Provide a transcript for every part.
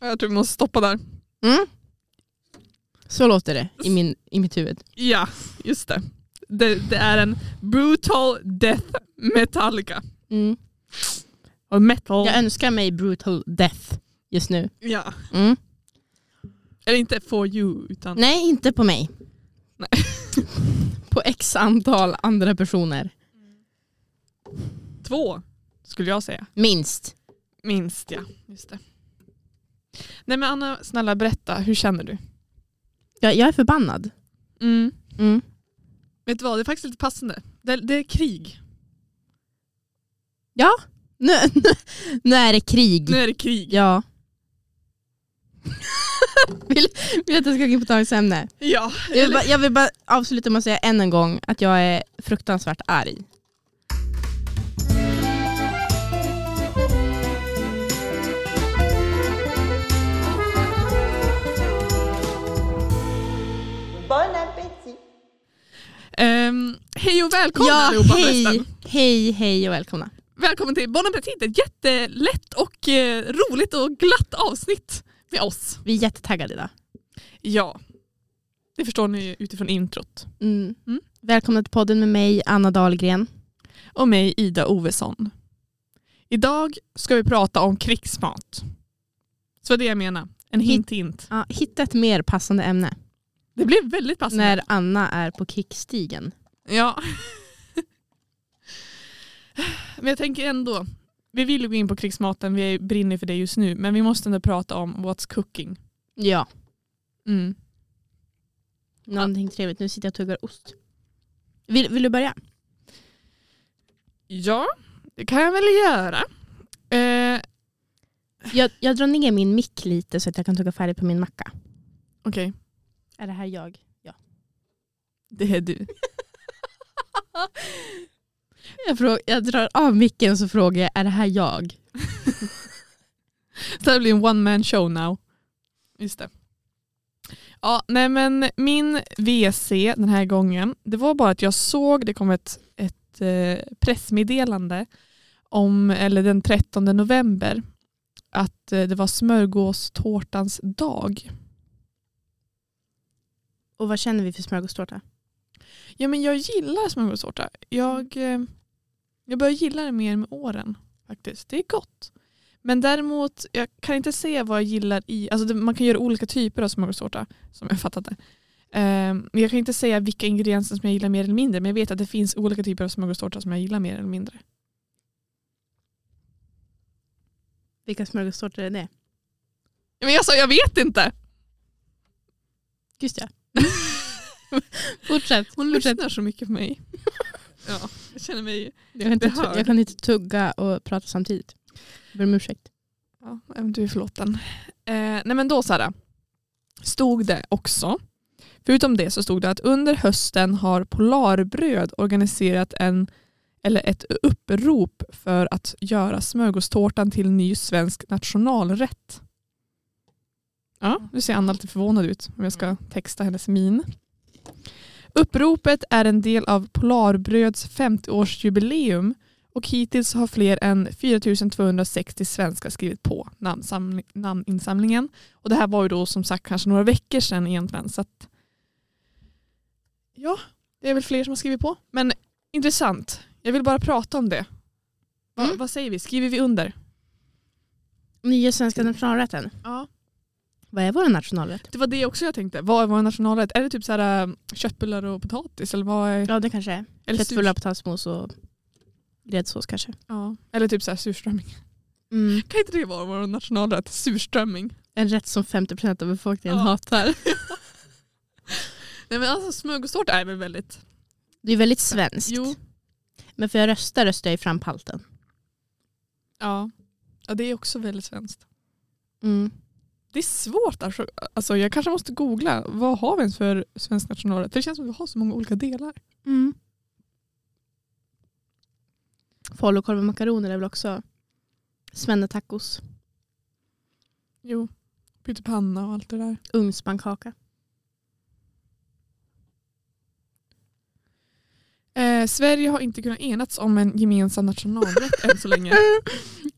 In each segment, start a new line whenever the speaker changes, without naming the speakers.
Jag tror vi måste stoppa där.
Mm. Så låter det i, min, i mitt huvud.
Ja, just det. Det, det är en brutal death metallica.
Mm.
Och metal.
Jag önskar mig brutal death just nu.
Ja.
Mm.
Eller inte for you, utan...
Nej, inte på mig.
Nej.
på x antal andra personer.
Två, skulle jag säga.
Minst.
Minst, ja. Just det. Nej men Anna, snälla berätta. Hur känner du?
Jag, jag är förbannad. Mm.
Vet du vad, det är faktiskt lite passande. Det, det är krig.
Nu, nu är det krig.
Nu är det krig.
Ja. vill, vill du att jag ska gå in på dagens ämne?
Ja.
Jag vill, bara, jag vill bara avsluta med att säga än en gång att jag är fruktansvärt arg.
Bon appétit
Ehm, hej och välkomna
ja,
allihopa
hej,
förresten.
hej, hej och välkomna.
Välkommen till Bon Appetit, ett jättelätt och eh, roligt och glatt avsnitt med oss.
Vi är jättetaggade idag.
Ja, det förstår ni ju utifrån introt.
Mm.
Mm.
Välkomna till podden med mig, Anna Dahlgren.
Och mig Ida Ovesson. Idag ska vi prata om krigsmat. Så det är det jag menar. En hint hint.
Ja, hitta ett mer passande ämne
Det blev väldigt passande.
när Anna är på kickstigen.
Ja. Men jag tänker ändå, vi vill ju gå in på krigsmaten, vi brinner för det just nu, men vi måste ändå prata om what's cooking.
Ja.
Mm.
Någonting trevligt. Nu sitter jag och tuggar ost. Vill, vill du börja?
Ja, det kan jag väl göra. Eh,
Jag, jag drar ner min mick lite så att jag kan tugga färdigt på min macka.
Okej,
Är det här jag? Ja.
det är du.
Jag, frå- jag drar av micken så frågar jag, är det här jag?
Det här blir en one man show now. Just det. Ja, nej men min VC den här gången, det var bara att jag såg, det kom ett, ett eh, pressmeddelande om, eller den 13 november, att eh, det var smörgåstårtans dag.
Och vad känner vi för smörgåstårta?
Ja men jag gillar smörgåstårta. Jag, eh, jag börjar gilla det mer med åren faktiskt. Det är gott. Men däremot, jag kan inte se vad jag gillar i, alltså det, man kan göra olika typer av smörgåstårta som jag fattat det. Eh, men jag kan inte säga vilka ingredienser som jag gillar mer eller mindre men jag vet att det finns olika typer av smörgåstårta som jag gillar mer eller mindre.
Vilka smörgåstårtor är det?
Men jag sa jag vet inte!
Just ja. Fortsätt.
Hon
fortsätt.
lyssnar så mycket på mig. ja, jag känner mig,
Jag kan, inte,
Behörd.
tu- jag kan inte tugga och prata samtidigt. Jag ber om ursäkt.
ja, även du är förlåten. Eh, nej men då Sara, stod det också. Förutom det så stod det att under hösten har Polarbröd organiserat en, eller ett upprop för att göra smörgåstårtan till ny svensk nationalrätt. Ja, nu ser Anna lite förvånad ut om jag ska texta hennes min. Uppropet är en del av Polarbröds 50-årsjubileum och hittills har fler än 4260 svenskar skrivit på namnsamling, namninsamlingen. Och det här var ju då som sagt kanske några veckor sedan egentligen. Så att, ja, det är väl fler som har skrivit på. Men intressant. Jag vill bara prata om det. Va,
Mm.
Vad säger vi? Skriver vi under?
Nya svenska nationalrätten.
Ja.
Vad är vår nationalrätt?
Det var det också jag tänkte. Vad är vår nationalrätt? Är det typ så här äh, köttbullar och potatis? Eller, vad är,
Ja det kanske är.
eller,
Köttbullar,
surs-
potatismos och gräddsås kanske.
ja, eller typ så här surströmming. Kan inte det vara vår nationalrätt? Surströmming.
En rätt som 50% av befolkningen
Ja.
hatar.
Nej men alltså smörgåstårta är väl väldigt...
Det är väldigt svenskt.
Jo.
Men för jag röstar röstar jag i frampalten.
Ja. ja, det är också väldigt svenskt. Mm. Det är svårt. Alltså, alltså, jag kanske måste googla. Vad har vi ens för svensk nationalrätt? För det känns som att vi har så många olika delar.
Mm. Falukorv och makaroner är väl också svennetacos,
Jo, pyttipanna och allt det där.
ugnspannkaka.
Eh, Sverige har inte kunnat enats om en gemensam nationalrätt än så länge.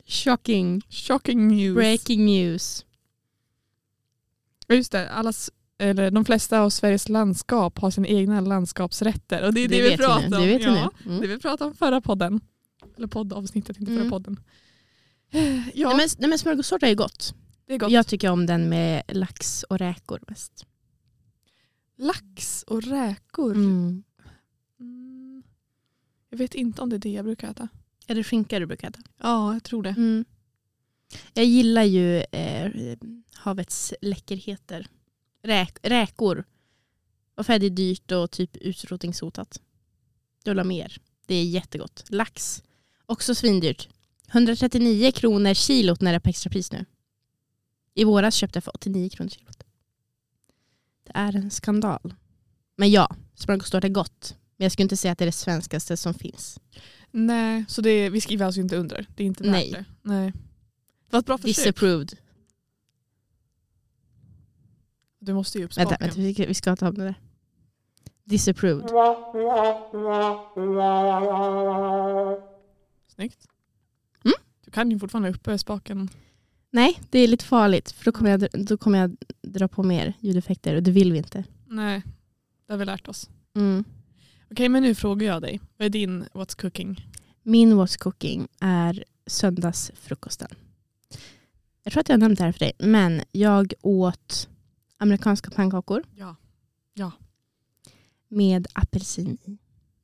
Shocking.
Shocking news.
Breaking news.
Ja, just det, alla, s- eller de flesta av Sveriges landskap har sina egna landskapsrätter. Och det är det, vi
vet
pratar
nu.
om.
Det vet vi
ja.
nu. Mm.
Det vi pratade om förra podden. Eller poddavsnittet, inte förra
Mm.
podden. Eh, Ja,
Nej, men, nej, men smörgåstårta är ju gott.
det är gott.
Jag tycker om den med lax och räkor mest.
Lax och räkor.
Mm.
Mm. Jag vet inte om det är det jag brukar äta.
Är det skinka du brukar äta?
Ja, jag tror det.
Mm. Jag gillar ju eh, havets läckerheter. Räk, räkor. Varför är det dyrt och typ utrotningshotat? Jag vill ha mer. Det är jättegott. Lax. Också svindyrt. 139 kronor kilot när det är på extrapris nu. I våras köpte jag för 89 kronor kilot. Det är en skandal. Men ja, smörgåstårta är gott. Men jag skulle inte säga att det är det svenskaste som finns.
Nej, så det är, vi skriver alltså inte under. Det är inte värt
Nej.
det. Nej. Det var ett bra försök.
Disapproved.
Du måste ju upp
Vänta,
spaken.
vänta vi, ska, vi ska ta om det där. Disapproved.
Snyggt.
Mm.
Du kan ju fortfarande ha uppe spaken.
Nej, det är lite farligt för då kommer jag, då kommer jag dra på mer ljudeffekter och det vill vi inte.
Nej, det har vi lärt oss.
Mm.
Okej, men nu frågar jag dig. Vad är din What's Cooking?
Min what's cooking är söndagsfrukosten. Jag tror att jag har nämnt det här för dig, men jag åt amerikanska pannkakor
Ja.
med apelsin i.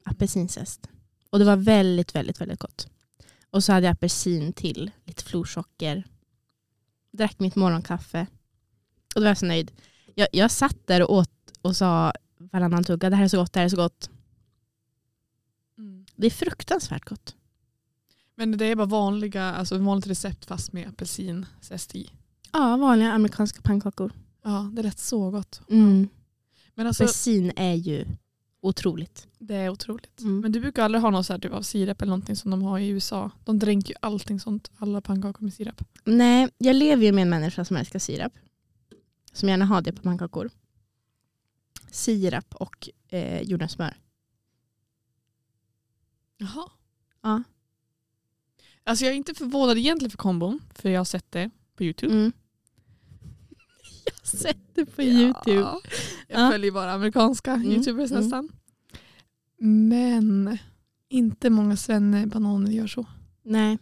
Apelsinzest. Och det var väldigt, väldigt, väldigt gott. Och så hade jag apelsin till, lite florsocker. Drack mitt morgonkaffe. Och då var jag så nöjd. Jag, jag satt där och åt och sa varannan tugga, det här är så gott, det här är så gott. Det är fruktansvärt gott.
Men det är bara vanliga, alltså ett vanligt recept fast med apelsinzest i.
Ja, vanliga amerikanska pannkakor.
Ja, det lät så gott.
Mm.
Men alltså,
Apelsin är ju otroligt.
det är otroligt.
Mm.
Men du brukar aldrig ha någon så här typ av sirap eller någonting som de har i USA. De dränker ju allting sånt, alla pannkakor med sirap.
Nej, jag lever ju med en människa som älskar sirap. Som gärna har det på pannkakor. Sirap och eh, jordnötssmör.
Jaha.
Ja.
Alltså jag är inte förvånad egentligen för kombon, för jag har sett det på YouTube.
Mm. Jag har sett det på
Ja.
YouTube.
Jag
Ja.
följer bara amerikanska
Mm,
YouTubers
mm.
nästan. Men inte många svennebananer gör så.
Nej.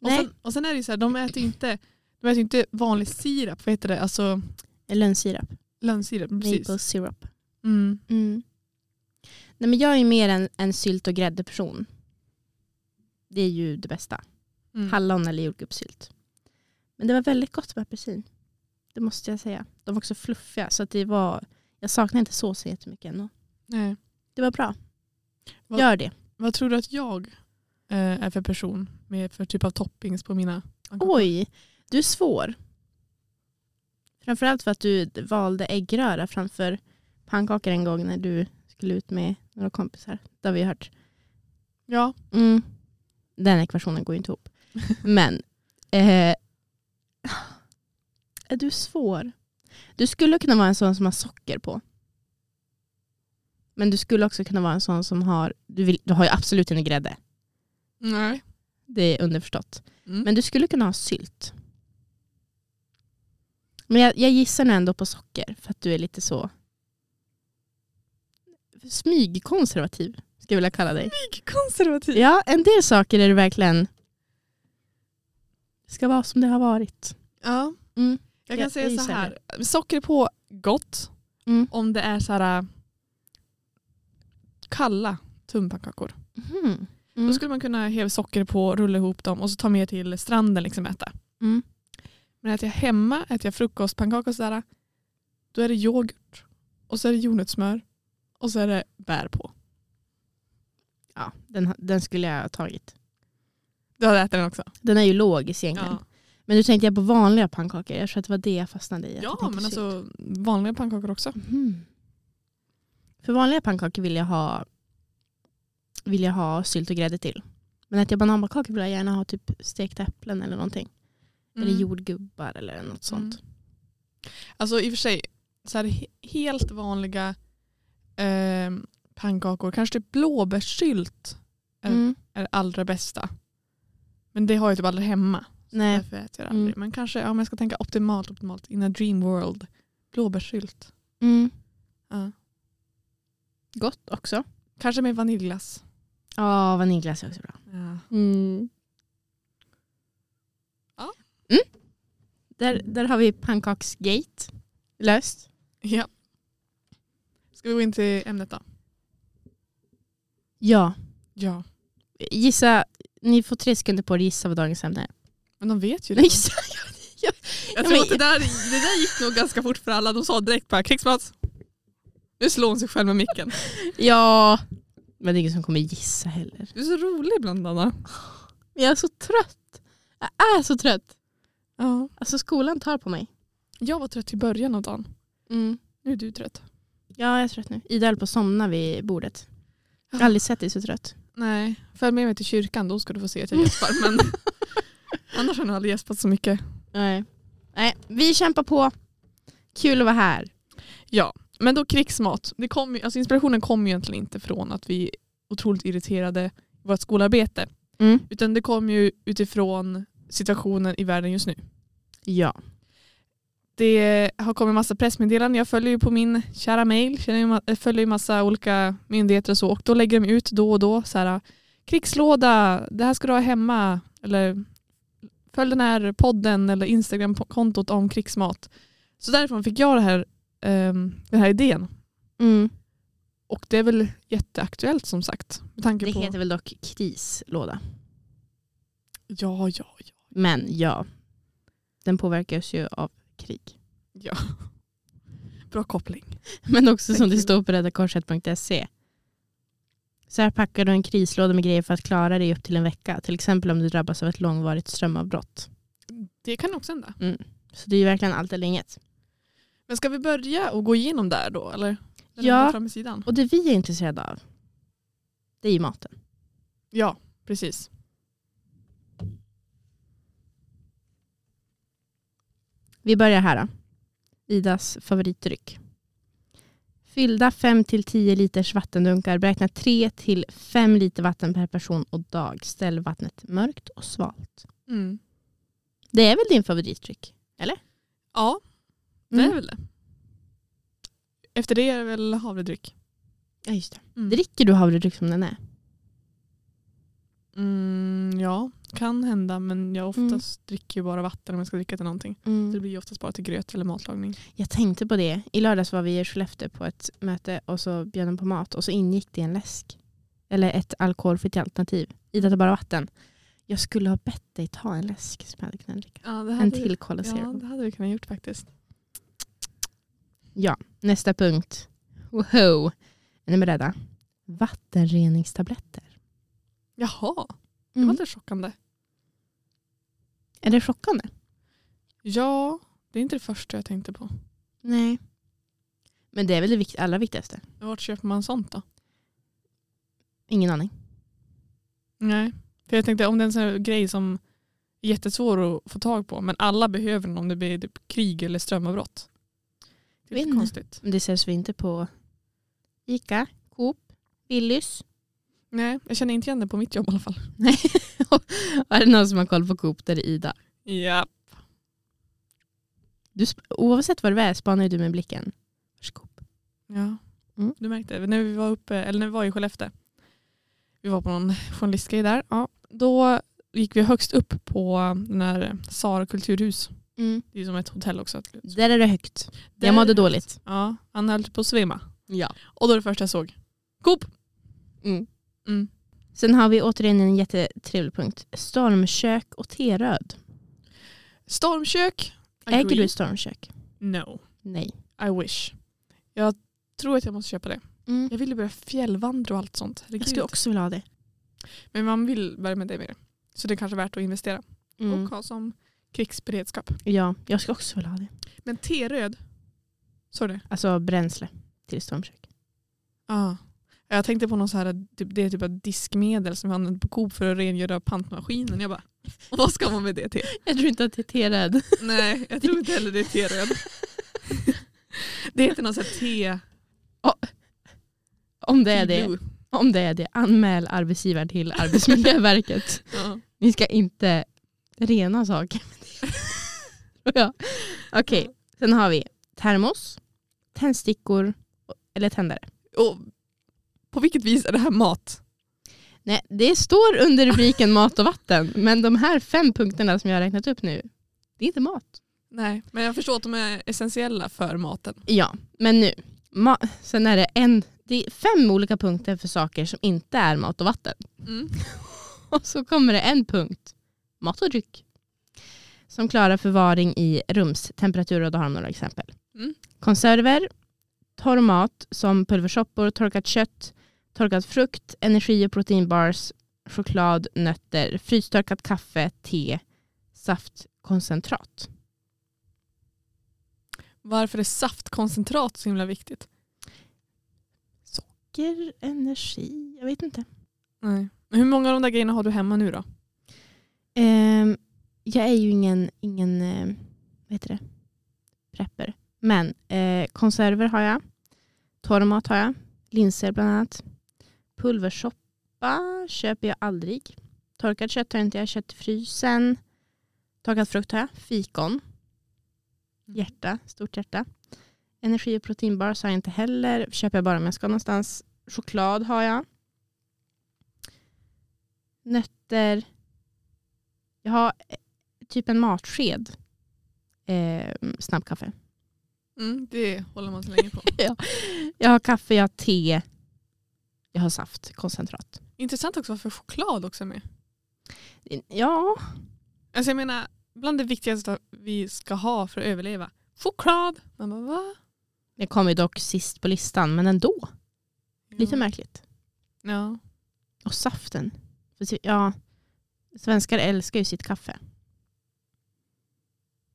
Och
Nej.
sen, och sen är det ju så här, de äter ju inte, de äter ju inte vanlig sirap, vad heter det? Alltså
Lönnsirap.
lönnsirap. Precis.
Maple syrup.
Mm.
Mm. Nej, men jag är ju mer en, en sylt och gräddeperson. Det är ju det bästa.
Mm.
Hallon eller jordgubbssylt. Men det var väldigt gott med apelsin. Det måste jag säga. De var också fluffiga. Så att det var, jag saknar inte såsen jättemycket ändå.
Nej.
Det var bra.
Vad-
Gör det.
Vad tror du att jag eh, är för person med för typ av toppings på mina pannkakor?
Oj, du är svår. Framförallt för att du valde äggröra framför pannkakor en gång när du skulle ut med några kompisar. Det har vi hört.
Ja,
Mm. Den ekvationen går ju inte ihop. Men eh, är du svår? Du skulle kunna vara en sån som har socker på. Men du skulle också kunna vara en sån som har, du, vill, du har ju absolut inte grädde.
nej.
Det är underförstått.
Mm.
Men du skulle kunna ha sylt. Men jag, jag gissar nog ändå på socker för att du är lite så smygkonservativ skulle jag vilja kalla dig.
konservativ.
Ja, en del saker är det verkligen ska vara som det har varit.
Ja.
Mm.
Jag kan
Jag-
säga
jag
så
gissar
här, socker på gott
Mm.
om det är så här äh, kalla tunnpannkakor.
Mhm.
Då
Mm.
skulle man kunna häva socker på, rulla ihop dem och så ta med till stranden liksom äta.
Mm.
Men äter jag hemma, äter jag frukostpannkaka och sådär, då är det yoghurt och så är det jordnötssmör och så är det bär på.
Ja, den, den skulle jag ha tagit.
Du har ätit den också?
Den är ju logisk egentligen.
Ja,
Men nu tänkte jag på vanliga pannkakor. Jag tror att det var det jag fastnade i. att jag
ja
tänkte
men
sylt.
alltså vanliga pannkakor också.
Mhm. För vanliga pannkakor vill jag ha vill jag ha sylt och grädde till. Men att jag bananpannkakor vill jag gärna ha typ stekta äpplen eller någonting. Eller jordgubbar eller något sånt.
Mm. Alltså i och för sig, så här, he- helt vanliga eh, pannkakor, kanske typ
Mm.
blåbärssylt är det allra bästa. Men det har jag typ aldrig hemma. Så
Nej.
Därför äter jag det aldrig.
Mm.
Men kanske om jag ska tänka optimalt, optimalt, in a dream world. Blåbärssylt.
Mm.
Ja.
Gott också.
Kanske med vaniljglass.
Ja, vaniljglass är också bra.
Ja.
Mm.
Ja.
Mm. Där, där har vi pannkaksgate löst.
ja. Ska vi gå in till ämnet då?
Ja.
Ja.
Gissa, ni får tre sekunder på er att gissa vad dagens ämne är.
Men de vet ju
Nej,
det.
gissa.
Jag
men-
tror att det där, det där gick nog ganska fort för alla. De sa direkt bara krigsmat. Nu slår hon sig själv med micken.
Ja. Men det är ingen som kommer gissa heller.
Du är så rolig ibland Anna.
Jag är så trött. Jag är så trött.
Ja.
Alltså skolan tar på mig.
Jag var trött i början av dagen.
Mm.
Nu är du trött.
Ja, jag är trött nu. Ida höll på att somna vid bordet. Jag
Ja.
har aldrig sett dig så trött.
Nej, följ med mig till kyrkan då ska du få se att jag gäspar. Men annars har jag nog aldrig gäspat så mycket.
Nej. Nej, vi kämpar på. Kul att vara här.
Men då krigsmat. Det kom, ju- alltså inspirationen kom ju egentligen inte från att vi är otroligt irriterade i vårt skolarbete.
Mm.
Utan det kom ju utifrån situationen i världen just nu.
Ja.
Det har kommit massa pressmeddelanden. Jag följer ju på min kära mail. Känner ju ma- Jag följer ju massa olika myndigheter och så. Och då lägger de ut då och då så här krigslåda, det här ska du ha hemma. Eller följ den här podden eller Instagram-kontot om krigsmat. Så därifrån fick jag det här, ehm, den här idén.
Mm.
Och det är väl jätteaktuellt som sagt. Med tanke
Det
på...
heter väl dock krislåda.
Ja, ja, ja.
Men ja, den påverkas ju av krig.
Bra koppling.
Men också som
Thank
det
you.
står på räddakorset.se. Så här packar du en krislåda med grejer för att klara dig upp till en vecka. Till exempel om du drabbas av ett långvarigt strömavbrott.
Det kan också hända.
Så det är ju verkligen allt eller inget.
Men ska vi börja och gå igenom där då? Eller? Den
Ja.
går Fram i sidan.
Och det vi är intresserade av, det är ju maten.
Ja, precis.
Vi börjar här. Då. Idas favoritdryck. Fyllda 5-10 liters vattendunkar. Beräkna 3-5 liter vatten per person och dag. Ställ vattnet mörkt och svalt.
Mm.
Det är väl din favoritdryck?
Ja, det
Mm.
är väl det. Efter det är det väl havredryck.
Ja, just det.
Mm.
Dricker du havredryck som den är?
Mm, ja, kan hända men jag
Mm.
oftast dricker ju bara vatten om jag ska dricka till någonting. Så det blir ju oftast bara till gröt eller matlagning.
Jag tänkte på det. I lördags var vi i Skellefteå på ett möte och så bjöd de på mat och så ingick det en läsk. Eller ett alkoholfritt alternativ. Ida tar bara vatten. Jag skulle ha bett dig ta en läsk som jag hade kunnat dricka.
Ja, det
En till Cola Zero.
Ja, det hade vi kunnat gjort faktiskt.
Nästa punkt. Wow. Är ni beredda? Vattenreningstabletter.
Jaha, det var
Mm.
lite chockande.
Är det chockande?
Ja, det är inte det första jag tänkte på.
Nej. Men det är väl det vikt- allra viktigaste?
Vart köper man sånt då?
Ingen aning.
Nej, för jag tänkte om det är en sån här grej som är jättesvår att få tag på men alla behöver den om det blir typ krig eller strömavbrott. Det är
Vet
lite
inte.
konstigt.
Men det säljs väl inte på Ica, Coop, Willys?
Nej, jag känner inte igen det på mitt jobb i alla fall.
Är det någon som har koll på Coop där är Ida?
Ja.
Du, sp- oavsett vad det är spanar ju du med blicken. Varsågod.
ja.
Mm.
Du märkte, det. när vi var uppe, eller när vi var i Skellefteå, vi var på någon journalistgrej där, ja. då gick vi högst upp på den här Sar kulturhus. Det är ju som ett hotell också.
Mm. Där är det högt.
Där-
jag mådde dåligt.
Ja, han höll på att svimma.
Ja.
Och då var det första jag såg, Coop!
Mm.
Mm.
Sen har vi återigen en jättetrevlig punkt. Stormkök och teröd.
Stormkök.
Äger
Agree.
du stormkök?
No,
Nej.
I wish. Jag tror att jag måste köpa det.
Mm.
Jag ville börja fjällvandra och allt sånt.
Jag
Herregud.
skulle också vilja ha det.
Men man vill börja med det mer. Så det är kanske värt att investera
Mm.
och ha som krigsberedskap.
Ja, jag skulle också vilja ha det.
Men T-röd, sa du det?
Alltså bränsle till stormkök.
Ja. Jag tänkte på någon så här, typ- det är typ av diskmedel som vi använder på Coop för att rengöra pantmaskinen. Jag bara, "Och vad ska man med det till?
Jag tror inte att det är teröd.
Nej, jag tror inte heller det är T-röd. Det heter någon sån här T...
Om det är det,
T-blue.
om det, är det anmäl arbetsgivaren till Arbetsmiljöverket.
Ja.
Ni ska inte Rena saker. ja. Okej, sen har vi termos, tändstickor eller tändare.
Och på vilket vis är det här mat?
Nej, det står under rubriken mat och vatten, men de här fem punkterna som jag har räknat upp nu, det är inte mat.
Nej, men jag förstår att de är essentiella för maten.
Ja, men nu. Ma- sen är det, en, det är fem olika punkter för saker som inte är mat och vatten.
Mm.
Och så kommer det en punkt, mat och dryck, som klarar förvaring i rumstemperatur och då har de några exempel.
Mm.
Konserver, torr mat som pulversoppor, torkat kött, torkad frukt, energi och proteinbars, choklad, nötter, frystorkat kaffe, te, saft, koncentrat.
Varför är saftkoncentrat så himla viktigt?
Socker, energi, jag vet inte.
Nej. Men hur många av de där grejerna har du hemma nu då?
Ehm, jag är ju ingen, ingen eh, vad heter det? prepper. Men eh, konserver har jag. Torrmat har jag. Linser bland annat. Pulversoppa köper jag aldrig. Torkat kött har jag inte. Jag har kött i frysen. Torkad frukt har jag. Fikon. Hjärta. Stort hjärta. Energi och proteinbars har jag inte heller. Köper jag bara om jag ska någonstans. Choklad har jag. Nötter. Jag har eh, typ en matsked eh, snabbkaffe.
Mm, det håller man så länge på.
Jag har kaffe, jag har te, jag har saft, koncentrat.
Intressant också varför choklad också är med.
Ja,
Alltså jag menar, bland det viktigaste vi ska ha för att överleva. Choklad! Man bara va?
jag kom ju dock sist på listan men ändå.
Mm.
Lite märkligt.
Ja.
Och saften. För se- Ja, svenskar älskar ju sitt kaffe.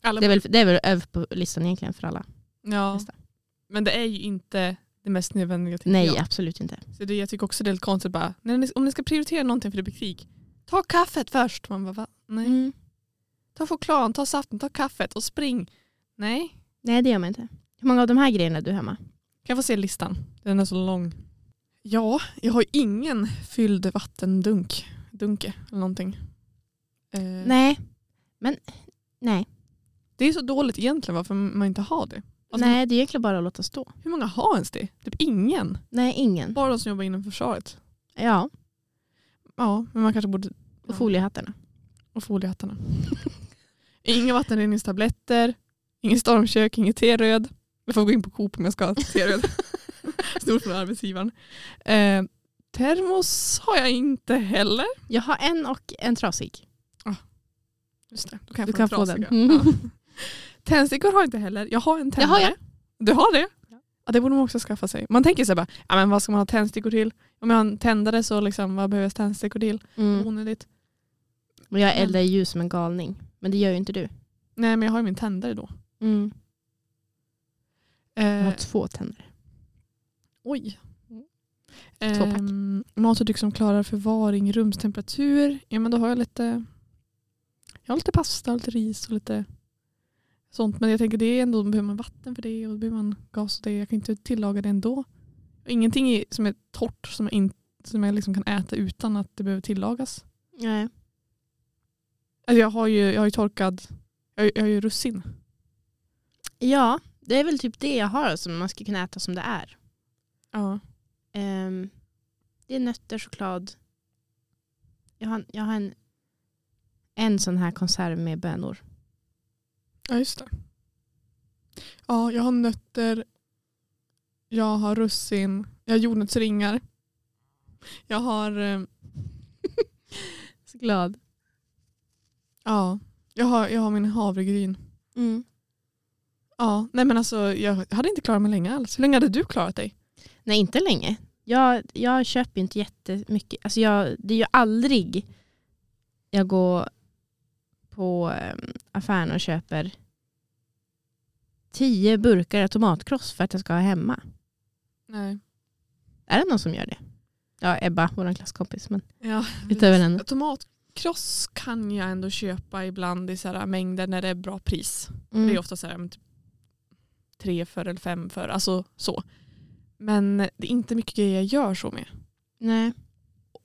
Alla
Det är väl, det är väl över på listan egentligen för alla.
ja.
nästa.
Men det är ju inte det mest nödvändiga. tycker
Nej,
jag.
absolut inte.
Så det, jag tycker också det är lite konstigt bara, när ni, om ni ska prioritera någonting för det blir krig, ta kaffet först. Man bara, va? Nej.
Mm.
Ta chokladen, ta saften, ta kaffet och spring. Nej.
Nej, det gör man inte. Hur många av de här grejerna är du hemma?
Kan jag få se listan? Den är så lång. Ja, jag har ju ingen fylld vattendunk. Dunke eller någonting. Eh,
Nej, men nej.
Det är så dåligt egentligen varför man inte har det. Alltså,
nej, det är egentligen bara att låta stå.
Hur många har ens det? Typ ingen.
Nej, ingen.
Bara de som jobbar inom försvaret.
Ja,
Ja, men man kanske borde...
och foliehattarna.
Och foliehattarna. inga vattenreningstabletter, ingen stormkök, inget teröd. Jag får gå in på Coop om jag ska ha teröd. Stort från arbetsgivaren. Eh, termos har jag inte heller.
Jag har en och en trasig.
Just det, då kan jag
Du
få,
kan
den
få den. Mm.
trasiga. Ja. Tändstickor har jag inte heller. Jag har en
Det har
tändare.
jag.
Du har det?
Ja.
Ja, det borde man också skaffa sig. Man tänker sig bara, ja, men vad ska man ha tändstickor till? Om jag har en tändare så liksom, vad behöver jag tändstickor till?
Mm.
Onödigt.
Och jag eldar ju ljus som en galning. Men det gör ju inte du.
Nej men jag har ju min tändare då.
Mm. Jag har
Eh,
två tänder.
oj.
Mm. Tvåpack.
Ehm, mat och dryck som klarar förvaring i rumstemperatur. Ja men då har jag lite, jag har lite pasta, lite ris och lite sånt. Men jag tänker det är ändå, då behöver man vatten för det och då behöver man gas och det. Jag kan inte tillaga det ändå. Och ingenting är, som är torrt som jag, in, som jag liksom kan äta utan att det behöver tillagas.
Nej.
Alltså jag har ju, jag har ju torkad, jag, har- jag har ju russin.
Ja, det är väl typ det jag har som man ska kunna äta som det är.
Ja.
Ehm, det är nötter, choklad. Jag har, jag har en, en sån här konserv med bönor.
Ja, just det. Ja, jag har nötter. Jag har russin. Jag har jordnötsringar. Jag har, eh,
Så glad.
ja, jag har, jag har min havregryn.
Mm.
Ja, nej men alltså jag hade inte klarat mig länge alls. Hur länge hade du klarat dig?
Nej, inte länge. Jag, jag köper ju inte jättemycket. Alltså jag, det är ju aldrig jag går på ehm, affären och köper tio burkar tomatkross för att jag ska ha hemma.
Nej.
Är det någon som gör det? Ja, Ebba, vår klasskompis. Men
Ja,
utöver henne.
Tomatkross kan jag ändå köpa ibland i så här mängder när det är bra pris.
Mm.
Det är ofta så här, men typ tre för eller fem för, alltså så. Men det är inte mycket grejer jag gör så med.
Nej.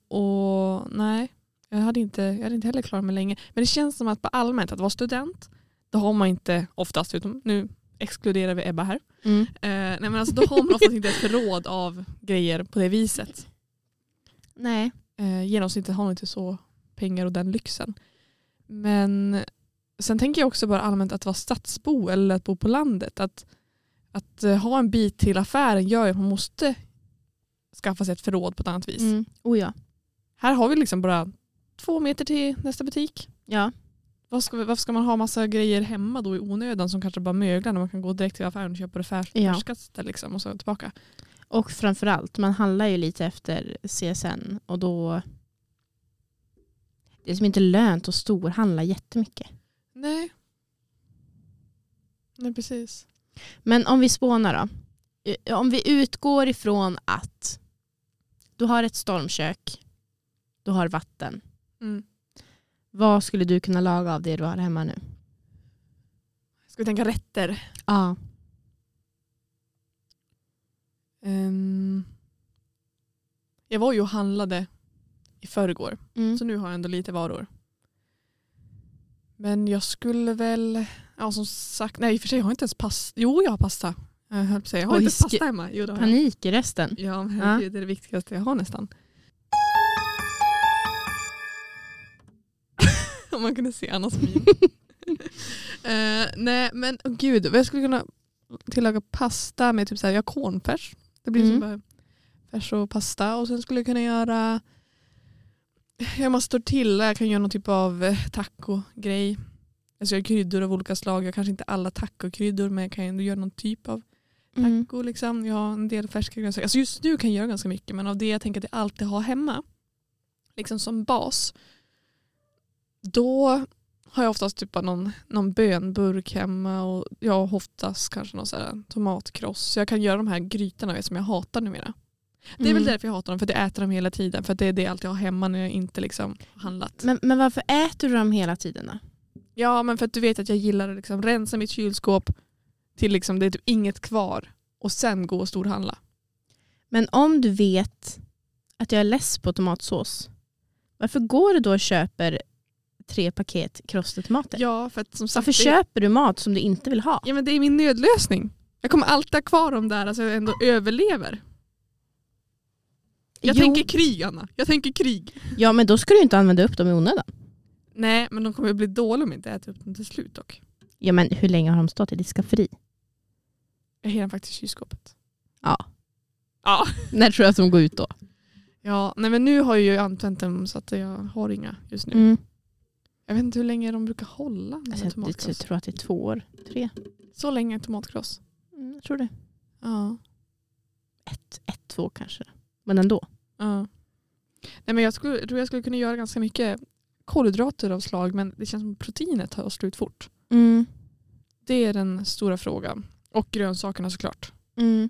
Och nej, Jag hade, inte, jag hade inte heller klarat mig länge. Men det känns som att på allmänt, att vara student, då har man inte oftast, utom nu exkluderar vi Ebba här,
Mm.
eh, nej men alltså, då har man oftast inte ett förråd av grejer på det viset.
Nej.
Eh, genomsnittet har nog inte så pengar och den lyxen. Men sen tänker jag också bara allmänt att vara stadsbo eller att bo på landet. Att, att eh, ha en bit till affären gör ju att man måste skaffa sig ett förråd på ett annat vis.
Mm. Oh ja.
Här har vi liksom bara två meter till nästa butik.
Ja.
Vad ska, vi- varför ska man ha massa grejer hemma då i onödan som kanske bara möglar när man kan gå direkt till affären och köpa det färs-
Ja.
färskaste liksom och så tillbaka.
Och framförallt, man handlar ju lite efter CSN och då det är som inte lönt att storhandla jättemycket.
Nej. Nej precis.
Men om vi spånar då. Eh, Om vi utgår ifrån att du har ett stormkök, du har vatten.
Mm.
Vad skulle du kunna laga av det du har hemma nu?
Ska vi tänka rätter?
Ja.
Ehm, jag var ju och handlade i förrgår.
Mm.
Så nu har jag ändå lite varor. Men jag skulle väl, ja som sagt, nej i och för sig har jag inte ens pasta. Jo jag har pasta. Jag höll på att säga, jag har inte
Oj,
ens
skri-
pasta hemma. Jo, det har jag.
Panik i resten.
Ja men
Ja.
herregud, det är det viktigaste jag har nästan. Om man kunde se Annas min. Eh, nej men oh, gud, jag skulle kunna tillaga pasta med typ så här, jag har cornfärs. Det blir
Mm.
som bara färs och pasta. Och sen skulle jag kunna göra, jag måste tortilla, jag kan göra någon typ av eh, taco-grej. Alltså jag har kryddor av olika slag, jag har kanske inte alla tacokryddor men jag kan ju ändå göra någon typ av
Mm.
taco. Liksom. Jag har en del färska grönsaker. Alltså just nu kan jag göra ganska mycket men av det jag tänker att jag alltid har hemma liksom som bas då har jag oftast typ bara någon, någon bönburk hemma och jag har oftast kanske någon så här tomatkross. Så jag kan göra de här grytorna vet, som jag hatar numera. Det är väl
Mm.
därför jag hatar dem, för att jag äter dem hela tiden. För att det är det jag alltid har hemma när jag inte liksom har handlat.
Men, men varför äter du dem hela tiden då?
Ja men för att du vet att jag gillar att liksom rensa mitt kylskåp till liksom det är typ inget kvar och sen gå och storhandla.
Men om du vet att jag är less på tomatsås, varför går du då och köper tre paket krossade tomater?
Ja, för att som sagt,
varför
det, är-
köper du mat som du inte vill ha?
ja, men det är min nödlösning. Jag kommer alltid ha kvar dem där så alltså jag ändå överlever. Jag
Jo,
tänker krig Anna, jag tänker krig.
Ja men då ska du ju inte använda upp dem i onödan.
Nej men de kommer bli dåliga om jag inte äter upp dem till slut dock.
Ja men hur länge har de stått i ditt skafferi?
Jag har dem faktiskt i kylskåpet.
Ja.
Ja.
När tror du att de går ut då?
Ja, nej men nu har jag ju använt dem så att jag har inga just nu.
Mm.
Jag vet inte hur länge de brukar hålla. med
Alltså, jag, jag,
tomatkross.
tror att det är två år, tre.
Så länge tomatkross.
Mm, jag tror det.
Ja.
Ett, ett, två kanske. Men ändå.
Ja. Nej, men jag, skulle, jag tror jag skulle kunna göra ganska mycket kolhydrater av slag men det känns som att proteinet tar slut fort.
Mm.
Det är den stora frågan. Och grönsakerna såklart.
Mm.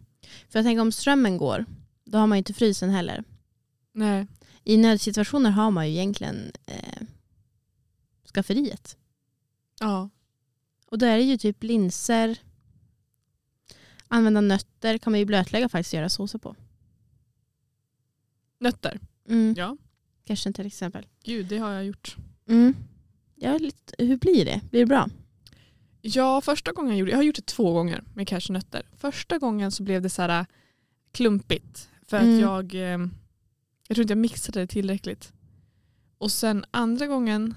För jag tänker om strömmen går, då har man ju inte frysen heller.
Nej.
I nödsituationer har man ju egentligen eh, skafferiet.
Ja.
Och då är det ju typ linser, använda nötter kan man ju blötlägga faktiskt och göra såser på.
Nötter.
Mm.
Ja.
Kanske till exempel.
Gud, det har jag gjort.
Mm. Jag är lite, hur blir det? Blir det bra?
Ja, första gången jag gjorde Jag har gjort det två gånger med cashewnötter. Första gången så blev det så här äh, klumpigt. För
Mm.
att jag, eh, jag tror inte jag mixade det tillräckligt. Och sen andra gången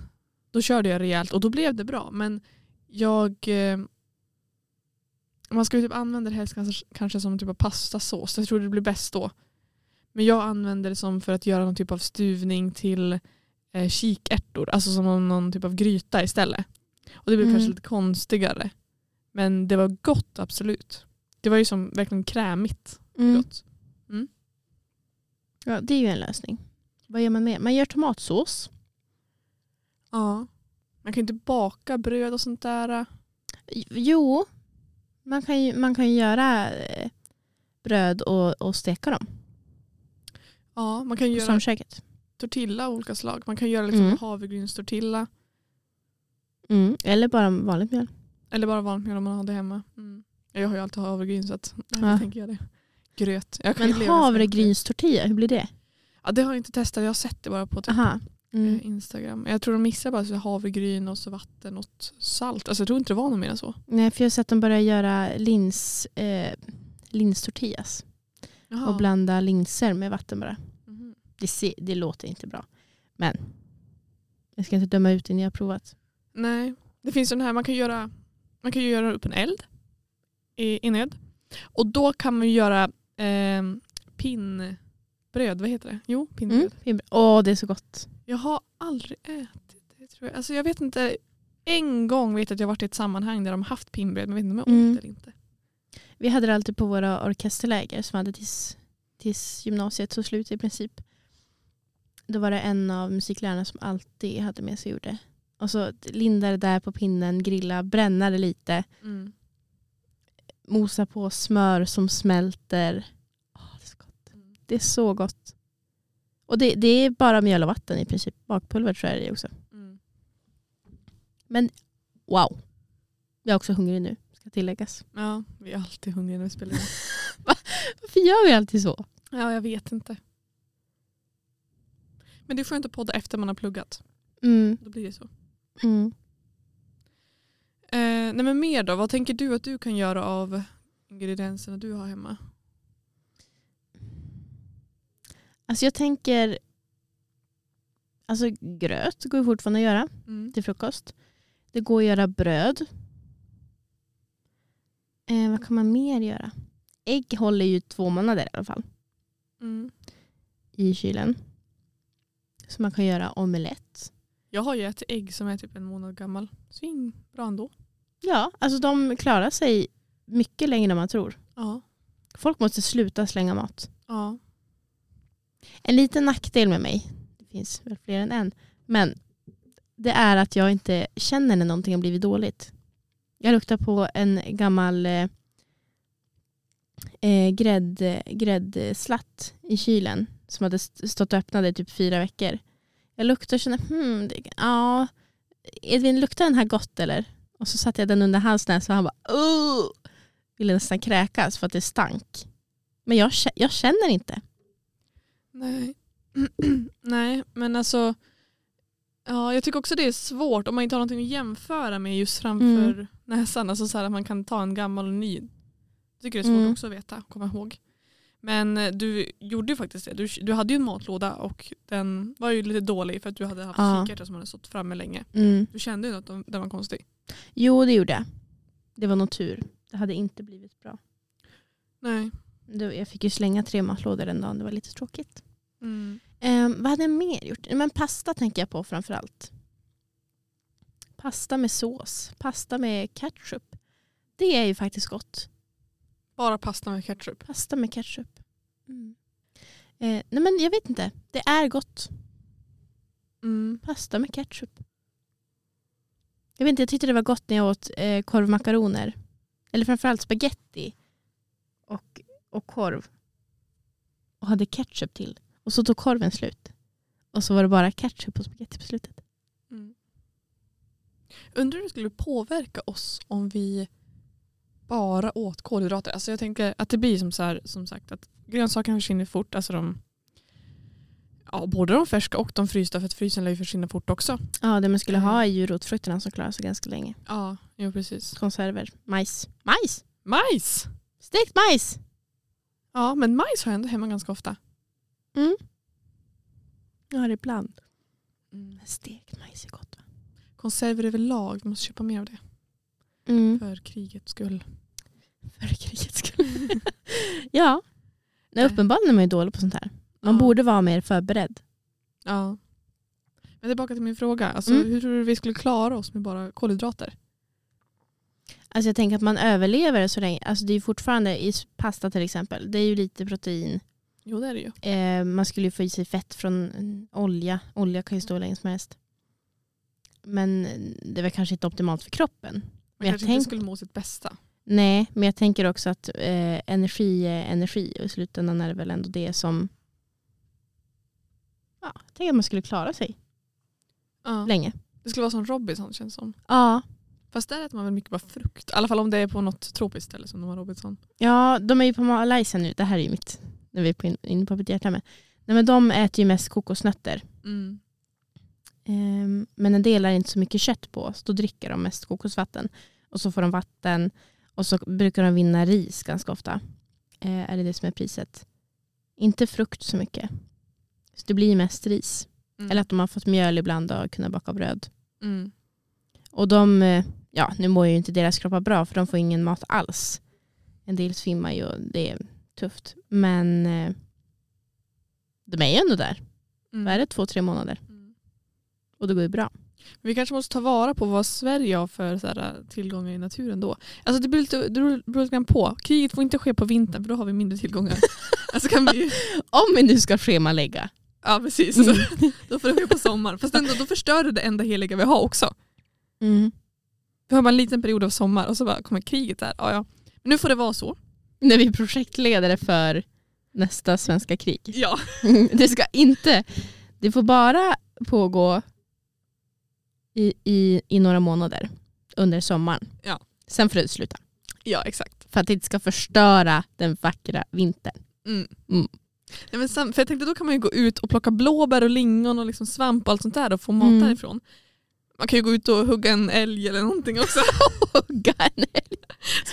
då körde jag rejält och då blev det bra. Men jag, eh, man ska ju typ använda det helst kanske, kanske som typ av pastasås. Jag tror det blir bäst då. Men jag använder det som för att göra någon typ av stuvning till eh, kikärtor. Alltså som någon, någon typ av gryta istället. Och det blev
Mm.
kanske lite konstigare. Men det var gott absolut. Det var ju som verkligen krämigt
Mm.
gott.
Ja, det är ju en lösning. Vad gör man mer? Man gör tomatsås.
Ja. Man kan ju inte baka bröd och sånt där.
Jo, man kan ju, man kan ju göra eh, bröd och, och steka dem
Ja, man kan
på
göra
stormköket.
tortilla av olika slag. Man kan göra liksom
Mm.
havregrynstortilla
Mm. Eller bara vanligt mjöl.
eller bara vanligt mjöl om man har det hemma. Mm. Jag har ju alltid havregryn så att därför
Ja.
tänker jag det. Gröt. Jag kan
Men
ju leva utan gröt.
havregrynstortilla, hur blir det?
Ja, det har jag inte testat. Jag har sett det bara på typ
Aha. Mm.
eh, Instagram. Jag tror de missade bara så havregryn och så vatten och salt. Alltså jag tror inte det var något mer än så.
Nej, för jag har sett dem börja göra lins, eh, linstortillas och blanda linser med vatten bara.
Mhm.
Det, ser, det låter inte bra. Men jag ska inte döma ut det när jag har provat.
Nej, det finns ju den här, man kan, göra, man kan ju göra upp en eld i inöd. Och då kan man ju göra eh, pinnbröd, vad heter det? Jo, pinnbröd.
Mm. fibrer. Åh, det är så gott.
Jag har aldrig ätit det tror jag. Alltså jag vet inte, en gång vet jag att jag varit i ett sammanhang där de haft pinnbröd men jag vet inte om jag
Mm.
åt det eller inte.
Vi hade det alltid på våra orkesterläger som vi hade tills, tills gymnasiet tog slut i princip. Då var det en av musiklärarna som alltid hade med sig och gjorde. Och så linda det där på pinnen, grilla, bränna det lite,
Mm.
mosa på smör som smälter. Åh, det, är så gott.
Mm.
det är så gott. Och det, det är bara mjöl och vatten i princip. Bakpulver tror jag det är också.
Mm.
Men wow. Jag är också hungrig nu, ska tilläggas.
Ja, vi är alltid hungriga när vi spelar in.
Varför gör vi alltid så?
Ja, jag vet inte. Men det är skönt att podda efter man har pluggat.
Mm,
Då blir det så.
mm.
Eh, nej men mer då, vad tänker du att du kan göra av ingredienserna du har hemma?
Alltså jag tänker, alltså gröt går ju fortfarande att göra
Mm.
till frukost. Det går att göra bröd. Eh, vad kan man mer göra? Ägg håller ju två månader i alla fall
Mm.
i kylen. Så man kan göra omelett.
Jag har ju ett ägg som är typ en månad gammal. Svin, bra ändå.
Ja, alltså de klarar sig mycket längre än man tror.
Ja.
Folk måste sluta slänga mat.
ja.
En liten nackdel med mig, det finns väl fler än en, men det är att jag inte känner när någonting har blivit dåligt. Jag luktar på en gammal eh, eh, grädd, gräddslatt i kylen som hade st- stått öppnade i typ fyra veckor. Jag luktar och känner, hmm, det, ja, Edvin luktar den här gott eller? Och så satte jag den under hans näsa och han bara, oh! Ville nästan kräkas för att det stank. Men jag, kä- jag känner inte.
Nej. Nej, men alltså. Ja, jag tycker också det är svårt om man inte har någonting att jämföra med just framför
Mm.
näsan. Alltså så här att man kan ta en gammal och ny. Jag tycker det är svårt
Mm.
också att veta, komma ihåg. Men eh, du gjorde ju faktiskt det. Du, du hade ju en matlåda och den var ju lite dålig för att du hade haft
Ja.
kikärtor som hade stått framme länge.
Mm.
Du kände ju att de- den var konstig.
Jo, det gjorde jag. Det var nog tur. Det hade inte blivit bra.
Nej.
Det- Jag fick ju slänga tre matlådor den dagen. Det var lite tråkigt.
Mm.
Ehm, vad hade jag mer gjort? Men pasta tänker jag på framför allt. Pasta med sås. Pasta med ketchup. Det är ju faktiskt gott.
Bara pasta med ketchup.
Pasta med ketchup. Mm. Eh, nej men jag vet inte. Det är gott.
Mm.
Pasta med ketchup. Jag vet inte, jag tyckte det var gott när jag åt eh, korvmakaroner. Eller framförallt spaghetti och, och korv. Och hade ketchup till. Och så tog korven slut. Och så var det bara ketchup och spaghetti på slutet.
Mm. Undrar hur det skulle påverka oss om vi bara åt kolhydrater. Alltså jag tänker att det blir som, så här, som sagt att grönsakerna försvinner fort. Alltså de, ja, både de färska och de frysta för att frysen lär ju försvinna fort också.
Ja, det man skulle ha är ju rotfrukterna som klarar sig ganska länge.
Ja, jo precis.
Konserver, majs. Majs!
Majs!
Stekt majs!
Ja men majs har jag ändå hemma ganska ofta.
Ja, det ibland.
Mm.
Men stekt majs är gott va?
Konserver överlag, vi måste köpa mer av det.
Mm.
För krigets skull.
För krigets skull. ja.
Nej.
Nej, uppenbarligen är man ju dålig på sånt här. Man
ja.
borde vara mer förberedd.
Ja. Men tillbaka till min fråga. Alltså,
Mm.
Hur tror du vi skulle klara oss med bara kolhydrater?
Alltså jag tänker att man överlever så länge. Alltså det är ju fortfarande i pasta till exempel. Det är ju lite protein.
Jo det är det ju.
Eh, man skulle ju få i sig fett från eh, olja. Olja kan ju stå hur länge som helst. Men mm, det är väl kanske inte optimalt för kroppen.
Man
Men jag
kanske
tänk-
inte skulle må sitt bästa.
Nej, men jag tänker också att eh, energi är energi och i slutändan är det väl ändå det som... Ja, jag tänker att man skulle klara sig
Ja.
länge.
Det skulle vara som Robinson känns som.
Ja,
Fast där äter man väl mycket bara frukt. I alla fall om det är på något tropiskt ställe som de har Robinson.
Ja, de är ju på Malaysia nu. Det här är ju
Mm.
mitt, när vi är på- inne på mitt hjärta med. Nej, men de äter ju mest kokosnötter. Ehm, men en del är inte så mycket kött på, så då dricker de mest kokosvatten. Och så får de vatten och så brukar de vinna ris ganska ofta. Eh, är det det som är priset. Inte frukt så mycket. Så det blir mest ris.
Mm.
Eller att de har fått mjöl ibland och kunnat baka bröd.
Mm.
Och de, eh, ja nu mår ju inte deras kroppar bra för de får ingen mat alls. En del svimmar ju och det är tufft. Men eh, de är ju ändå där.
Mm.
Vad är det? Två, tre månader.
Mm.
Och det går ju bra.
Vi kanske måste ta vara på vad Sverige har för så här, äh, tillgångar i naturen då. Alltså det beror lite, det beror beror lite grann på. Kriget får inte ske på vintern för då har vi mindre tillgångar. alltså kan vi,
Om vi nu ska schemalägga.
ja precis. Så, då får det ske på sommaren. Fast ändå, då förstör det det enda heliga vi har också.
Mm.
Vi har bara en liten period av sommar och så bara kommer kriget där. Ja, ja. Men nu får det vara så.
När vi är projektledare för nästa svenska krig.
Ja.
Det ska inte, det får bara pågå i, i, i några månader under sommaren.
Ja.
Sen får det sluta.
Ja, exakt.
För att det inte ska förstöra den vackra vintern.
Mm.
Mm.
Nej, men sam- för jag tänkte då kan man ju gå ut och plocka blåbär och lingon och liksom svamp och allt sånt där och få mat
Mm.
därifrån. Man kan ju gå ut och hugga en älg eller någonting också.
Hugga en älg.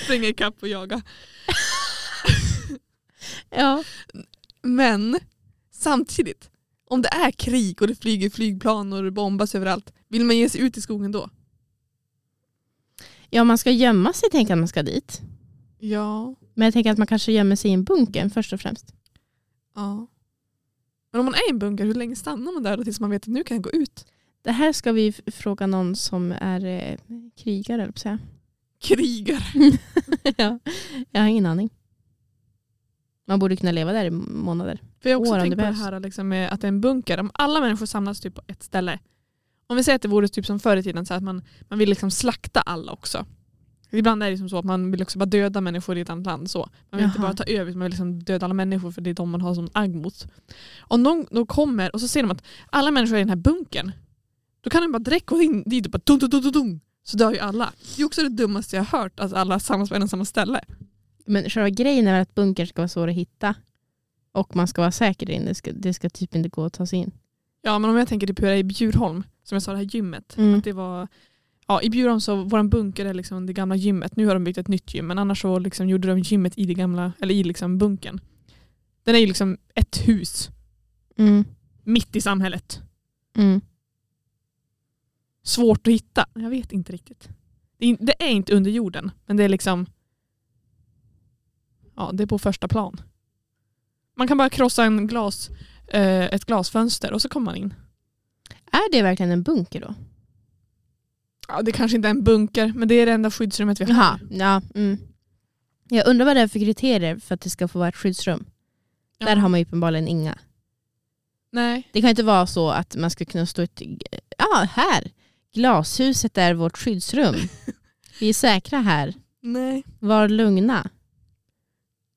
Springa ikapp och jaga.
Ja.
Men samtidigt, om det är krig och det flyger flygplan och det bombas överallt, vill man ge sig ut i skogen då?
ja, man ska gömma sig tänker jag att man ska dit.
Ja.
Men jag tänker att man kanske gömmer sig i en bunker först och främst.
ja. Men om man är i en bunker, hur länge stannar man där då tills man vet att nu kan jag gå ut?
Det här ska vi f- fråga någon som är eh, krigare, eller säga.
Krigare.
ja. Jag har ingen aning. Man borde kunna leva där i månader.
För jag har också
Åren, det
tänkt på det
behövs.
här liksom, med att det är en bunker. Om alla människor samlas typ på ett ställe. Om vi säger att det vore typ som förr i tiden, så att man, man vill liksom slakta alla också. Ibland är det som så att man vill också bara döda människor i ett annat land. Så. Man vill inte
Jaha.
bara ta över utan man vill liksom döda alla människor för det är de man har som agg mot. Om någon då kommer och så ser de att alla människor är i den här bunkern. Då kan de bara direkt gå in dit och bara dum, dum, dum, dum, dum, så dör ju alla. Det är också det dummaste jag har hört, att alla samlas på en och samma ställe.
Men själva grejen är väl att bunkern ska vara svår att hitta. Och man ska vara säker där inne. Det ska, det ska typ inte gå att ta sig in.
Ja men om jag tänker typ hur det är i Bjurholm, som jag sa det här gymmet.
Mm.
Det var, ja, I Bjurholm så vår bunker är liksom det gamla gymmet. Nu har de byggt ett nytt gym men annars så liksom gjorde de gymmet i det gamla, eller i liksom bunkern. Den är ju liksom ett hus
Mm.
mitt i samhället.
Mm.
Svårt att hitta. Jag vet inte riktigt. Det är, in- det är inte under jorden men det är liksom ja, det är på första plan. Man kan bara krossa en glas, eh, ett glasfönster och så kommer man in.
Är det verkligen en bunker då?
Ja, det kanske inte är en bunker men det är det enda skyddsrummet vi har.
Jaha, ja. Mm. Jag undrar vad det är för kriterier för att det ska få vara ett skyddsrum.
Ja.
Där har man ju uppenbarligen inga.
Nej.
Det kan inte vara så att man ska kunna stå i ett... Ja, här! Glashuset är vårt skyddsrum. Vi är säkra här.
Nej.
Var lugna.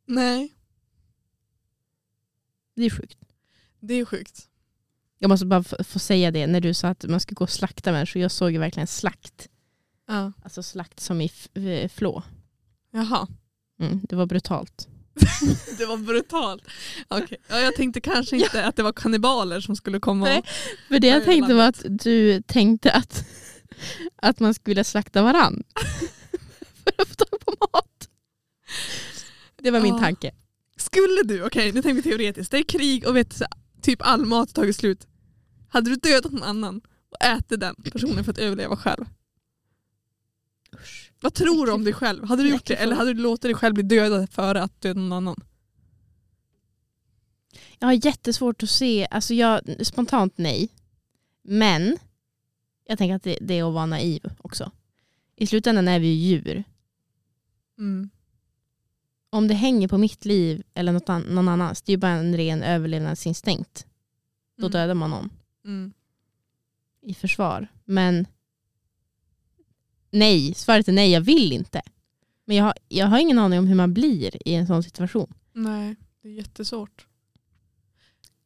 Nej.
Det är sjukt.
Det är sjukt.
Jag måste bara f- få säga det, när du sa att man ska gå och slakta människor. Jag såg ju verkligen slakt.
Ja.
Alltså slakt som i f- eh, flå.
Jaha.
Mm, det var brutalt.
Det var brutalt. Okej. Ja, jag tänkte kanske inte att det var kannibaler som skulle komma.
Nej.
och-
För det jag
Oj,
tänkte var att du tänkte att, att man skulle slakta varann. för att få tag på mat. Det var min
Ja.
tanke.
Skulle du, okej nu tänker vi teoretiskt, det är krig och vet, så- typ all mat har tagit slut. Hade du dödat någon annan och ätit den personen för att överleva själv?
Usch.
Vad tror du om dig själv? Hade du gjort det
Äcklig
eller
fråga.
hade du låtit dig själv bli dödad före att döda någon annan?
Jag har jättesvårt att se, alltså jag, spontant nej. Men jag tänker att det, det är att vara naiv också. I slutändan är vi ju djur.
Mm.
Om det hänger på mitt liv eller något an- någon annans, det är ju bara en ren överlevnadsinstinkt. Då
Mm.
dödar man någon.
Mm.
i försvar. Men nej, svaret är nej, jag vill inte. Men jag har, jag har ingen aning om hur man blir i en sån situation.
Nej, det är jättesvårt.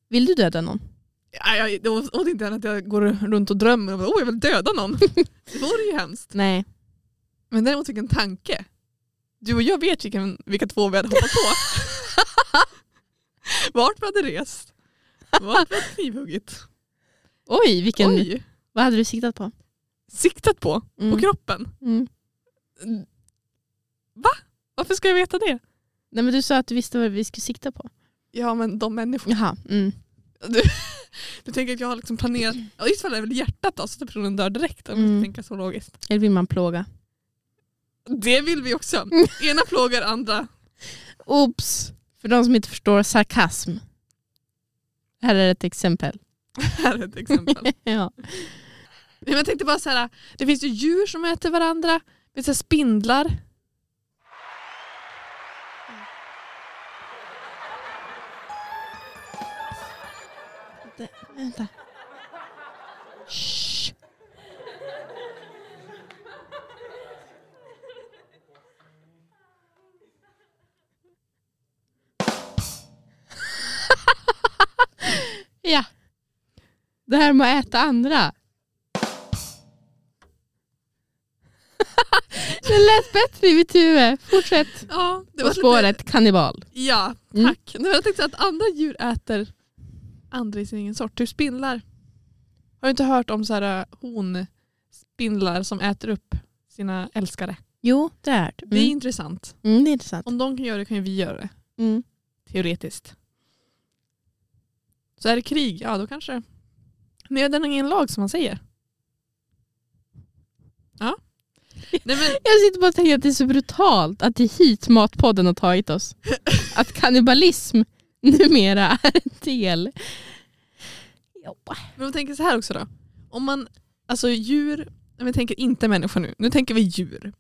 Vill du döda någon?
Ja, jag, det var åt inte gärna att jag går runt och drömmer om att oh, jag vill döda någon. det vore ju hemskt.
Nej.
Men däremot vilken tanke. Du och jag vet vilken, vilka två vi hade hoppat på. Vart vi hade rest. Vart vi hade knivhuggit.
Oj, vilken
Oj,
Vad hade du siktat på?
Siktat på,
Mm.
på kroppen.
Mm.
Varför ska jag veta det?
Nej, men du sa att du visste vad vi skulle sikta på.
Ja men de människorna.
Jaha. Mm.
Du tänker att jag har liksom planerat, ja, i så fall är det väl hjärtat då så att personen dör direkt om
Mm.
man tänker så logiskt.
Eller vill man plåga?
Det vill vi också. Ena plågar andra.
Oops! För de som inte förstår sarkasm. Här är ett exempel.
Här är ett exempel.
ja.
Nej, men jag tänkte bara så här, det finns ju djur som äter varandra. Det finns så här spindlar.
Vänta. Shh. ja. Det här med att äta andra. Det lät bättre i mitt huvud. Fortsätt.
Ja, det
På spåret kannibal.
Lite, ja,
Mm.
tack. Nej, men jag tänkte så här att andra djur äter andra i sin egen sort. Typ spindlar. Har du inte hört om så här eh, honspindlar som äter upp sina älskare?
Jo, det är det.
Det är
Mm.
intressant.
Mm, det är intressant.
Om de kan göra det kan ju vi göra det.
Mm.
Teoretiskt. Så är det krig, ja då kanske. Nöden är ingen lag som man säger. Ja. Nej, men,
Jag sitter bara och tänker att det är så brutalt att det är hit Matpodden har tagit oss. Att kannibalism numera är en del. Ja.
men jag tänker så här också då. Om man, alltså djur, vi tänker inte människor nu, nu tänker vi djur.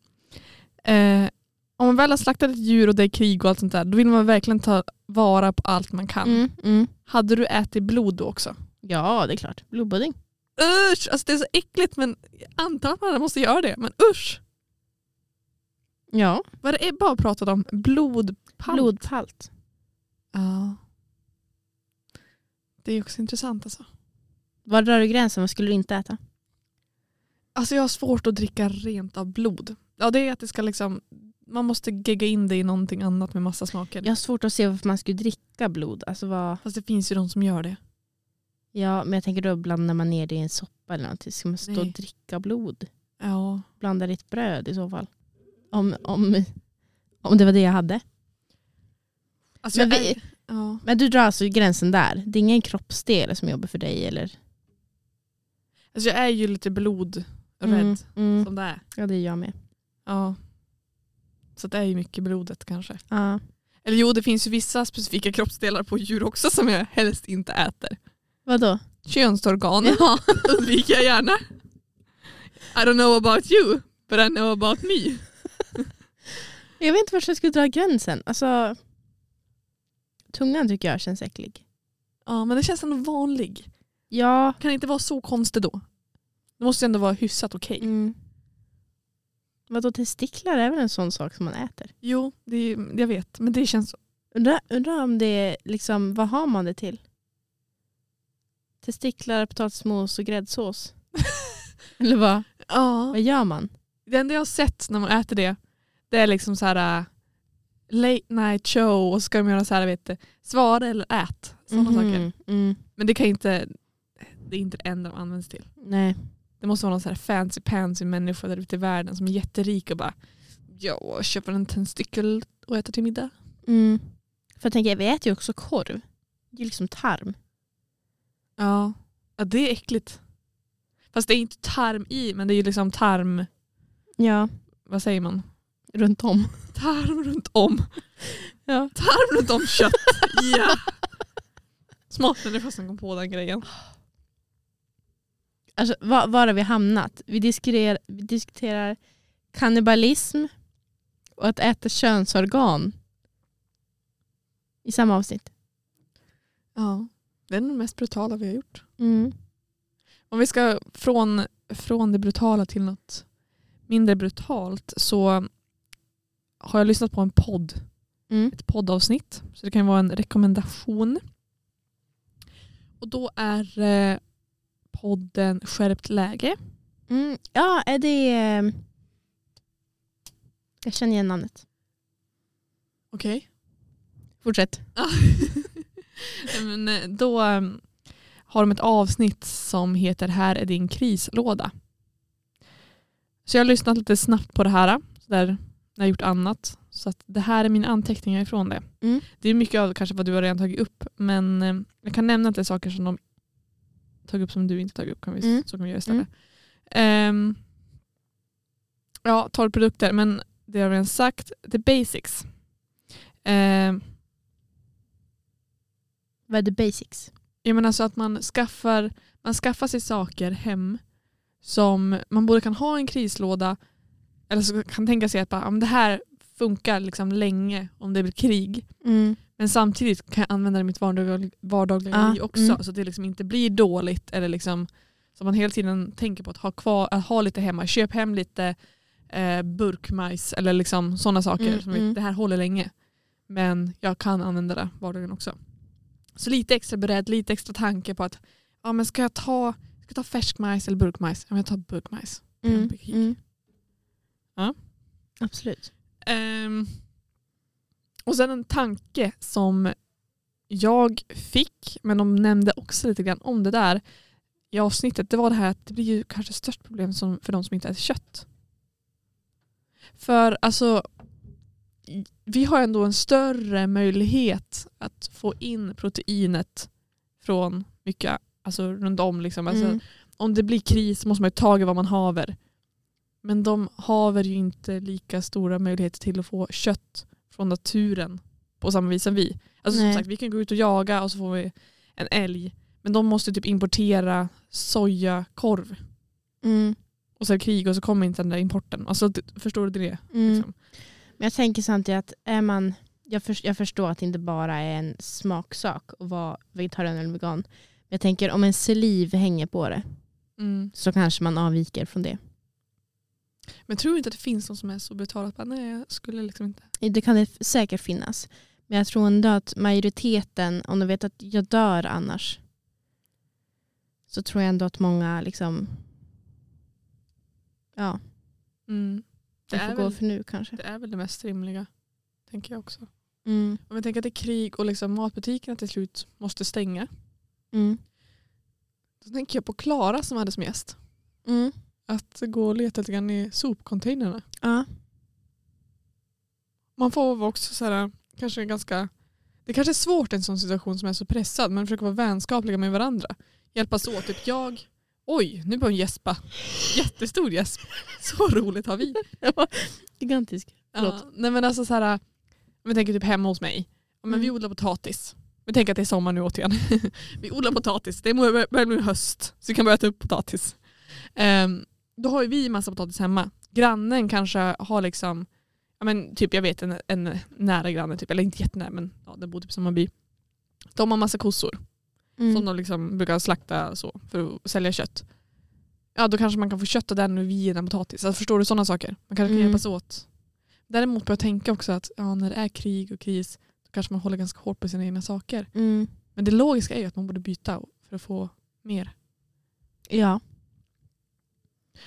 Eh, om man väl har slaktat ett djur och det är krig och allt sånt där, då vill man verkligen ta vara på allt man kan.
Mm, mm.
Hade du ätit blod då också?
ja, det är klart. Blodpudding.
Usch, alltså det är så äckligt men jag antar att man måste göra det. Men usch,
Ja,
vad det Ebba har pratat om? Blodpall.
blodpalt.
Ja. Det är också intressant alltså.
Var drar du gränsen? Vad skulle du inte äta?
Alltså jag har svårt att dricka rent av blod. Ja det är att det ska liksom, man måste gegga in det i någonting annat med massa smaker.
Jag har svårt att se varför man skulle dricka blod. Alltså vad...
Fast det finns ju de som gör det.
Ja, men jag tänker då blandar man ner det i en soppa eller någonting. Ska man stå och
Nej.
dricka blod?
Ja.
Blanda det i ett bröd i så fall. Om, om, om det var det jag hade.
Alltså
Men
jag
vi-
är, ja.
Men du drar alltså gränsen där? Det är ingen kroppsdel som jobbar för dig? Eller?
alltså jag är ju lite blodrädd
Mm, mm.
som det är.
Ja, det är jag med.
Ja. Så det är ju mycket blodet kanske.
Ja.
Eller jo, det finns ju vissa specifika kroppsdelar på djur också som jag helst inte äter.
Vadå?
Könsorganen
Ja.
undviker jag gärna. I don't know about you, but I know about me.
Jag vet inte var jag skulle dra gränsen. Alltså, tungan tycker jag känns äcklig.
Ja, men det känns ändå vanlig.
Ja.
Kan det inte vara så konstigt då? Det måste ju ändå vara hyfsat okej.
Mm. Vadå, testiklar är väl en sån sak som man äter?
Jo, det är, jag vet, men det känns...
Undrar undra om det är, liksom, vad har man det till? Testiklar, potatismos och gräddsås? eller vad,
Ja.
vad gör man?
Det enda jag har sett när man äter det, det är liksom så här äh, late night show och så ska de göra så här, vet du, svara eller ät. Sådana
Mhm.
saker.
Mm.
Men det kan inte, det är inte det enda de används till.
Nej.
Det måste vara någon sån här fancy pansy människa där ute i världen som är jätterik och bara ja, köper en testikel och äter till middag.
Mm. För jag tänker, vi äter ju också korv. Det är ju liksom tarm.
Ja. ja, det är äckligt. Fast det är inte tarm i, men det är ju liksom tarm,
Ja.
vad säger man?
Runt om.
Tarm runt om.
Ja.
Tarm runt om kött. ja. Smart människa som kom på den grejen.
Alltså, var, var har vi hamnat? Vi diskuterar, vi diskuterar kannibalism och att äta könsorgan i samma avsnitt.
Ja. Det är nog det mest brutala vi har gjort.
Mm.
Om vi ska från, från det brutala till något mindre brutalt så har jag lyssnat på en podd,
Mm.
ett poddavsnitt. Så det kan vara en rekommendation. Och då är eh, podden Skärpt läge.
Mm. Ja, är det... eh, Jag känner igen namnet.
Okej.
Fortsätt.
Men eh, då eh, har de ett avsnitt som heter Här är din krislåda. Så jag har lyssnat lite snabbt på det här så där, när jag har gjort annat. Så att det här är mina anteckningar ifrån det.
Mm.
Det är mycket av kanske vad du har redan tagit upp men eh, jag kan nämna att det är saker som de tagit upp som du inte tagit upp. Kan vi,
Mm.
Så kan vi göra istället. Ehm, ja, 12 produkter men det har vi redan sagt. The basics. Ehm,
Vad är the basics?
Jag menar så att man skaffar, man skaffar sig saker hem som man både kan ha i en krislåda eller så kan tänka sig att bara, om det här funkar liksom länge om det blir krig.
Mm.
Men samtidigt kan jag använda det i mitt vardag, vardagliga
Ja,
liv också
mm.
så att det liksom inte blir dåligt. Eller liksom, så man hela tiden tänker på att ha, kvar, att ha lite hemma. Köp hem lite eh, burkmajs eller liksom sådana saker.
Mm,
som vi-
mm.
Det här håller länge. Men jag kan använda det vardagen också. Så lite extra beredd, lite extra tanke på att ja, men ska jag ta, ska jag ta färskmajs eller burkmajs? Ja, men jag tar burkmajs. Mm, mm. Ja.
Absolut.
Ehm, och sen en tanke som jag fick, men de nämnde också lite grann om det där i avsnittet, det var det här att det blir ju kanske störst problem som, för de som inte äter kött. För alltså, i- vi har ändå en större möjlighet att få in proteinet från mycket, alltså runt om liksom. Alltså,
Mm.
om det blir kris måste man ju ta i vad man haver. Men de haver ju inte lika stora möjligheter till att få kött från naturen på samma vis som vi. Alltså som
Nej.
sagt, vi kan gå ut och jaga och så får vi en älg. Men de måste typ importera sojakorv
Mm.
och så är det krig och så kommer inte den där importen. Alltså, d- förstår du det?
Mm.
Liksom.
Men jag tänker samtidigt att är man, jag, förs- jag förstår att det inte bara är en smaksak att vara vegetarian eller vegan. Men jag tänker om en saliv hänger på det
Mm.
så kanske man avviker från det.
Men tror du inte att det finns någon som är så brutal att bara, nej jag skulle liksom inte.
Det kan det f- säkert finnas. Men jag tror ändå att majoriteten, om de vet att jag dör annars, så tror jag ändå att många liksom, ja,
Mm. Det,
det får
är
gå
väl,
för nu kanske.
det är väl det mest rimliga, tänker jag också.
Mm.
Om vi tänker att det är krig och liksom matbutikerna till slut måste stänga.
Mm.
Då tänker jag på Klara som hade som gäst.
Mm.
Att gå och leta lite grann i sopcontainrarna.
Ja.
Man får vara också så här, kanske ganska... Det kanske är svårt i en sån situation som är så pressad men försöka vara vänskapliga med varandra. Hjälpas åt. Typ jag... Oj, nu börjar hon gäspa. Jättestor gäsp. Så roligt har vi.
Gigantisk.
Ja,
Förlåt.
nej men alltså så här, om vi tänker typ hemma hos mig. Ja, men
Mm.
Vi odlar potatis. Vi tänker att det är sommar nu återigen. vi odlar potatis. Det bör- börjar bli höst så vi kan börja ta upp potatis. Ehm, då har ju vi massa potatis hemma. Grannen kanske har liksom, ja, men typ jag vet en, en nära granne, typ, eller inte jättenära men ja, den bor typ i samma by. De har massa kossor
Mm.
som de liksom brukar slakta så för att sälja kött. Ja då kanske man kan få kött av den och vi ger den potatis. Alltså, förstår du sådana saker? Man kanske kan
Mm.
hjälpas åt. Däremot börjar jag tänka också att ja, när det är krig och kris då kanske man håller ganska hårt på sina egna saker.
Mm.
Men det logiska är ju att man borde byta för att få mer.
Ja.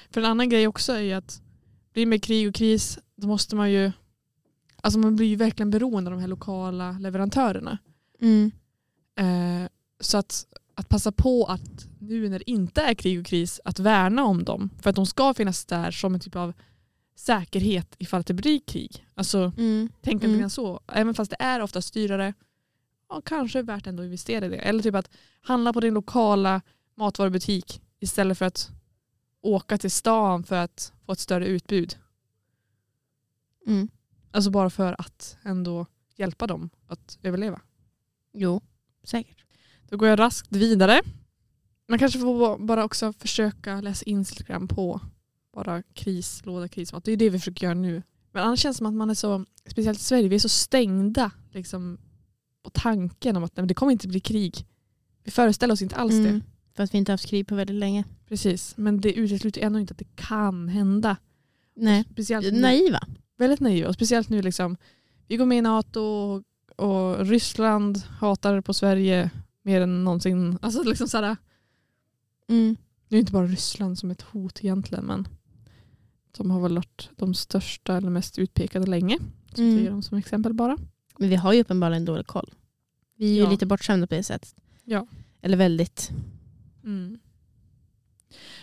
För en annan grej också är ju att blir det med krig och kris då måste man ju Alltså man blir ju verkligen beroende av de här lokala leverantörerna.
Mm.
Eh, så att, att passa på att nu när det inte är krig och kris att värna om dem. För att de ska finnas där som en typ av säkerhet ifall att det blir krig. Alltså
Mm.
tänk
Mm.
mm. lite så. Även fast det är ofta dyrare, ja, kanske är värt ändå att investera i det. Eller typ att handla på din lokala matvarubutik istället för att åka till stan för att få ett större utbud.
Mm.
Alltså bara för att ändå hjälpa dem att överleva.
Jo, säkert.
Då går jag raskt vidare. Man kanske får bara också försöka läsa Instagram på bara krislåda, krismat. Det är ju det vi försöker göra nu. Men annars känns det som att man är så, speciellt i Sverige, vi är så stängda liksom, på tanken om att nej, men det kommer inte bli krig. Vi föreställer oss inte alls det.
Mm. För att vi inte har haft krig på väldigt länge.
Precis, men det utesluter ändå inte att det kan hända.
Alltså, Nej.
Speciellt nu-
Naiva.
väldigt naiva. Och speciellt nu liksom, vi går med i NATO och, och Ryssland hatar på Sverige mer än någonsin. Alltså liksom sådär,
Mm.
Det är inte bara Ryssland som ett hot egentligen men de har väl varit de största eller mest utpekade länge. Så
Mm.
tar jag dem som exempel bara.
Men vi har ju uppenbarligen dålig koll. Vi är ju
Ja.
lite bortskämda på det sättet.
Ja.
Eller väldigt.
Mm.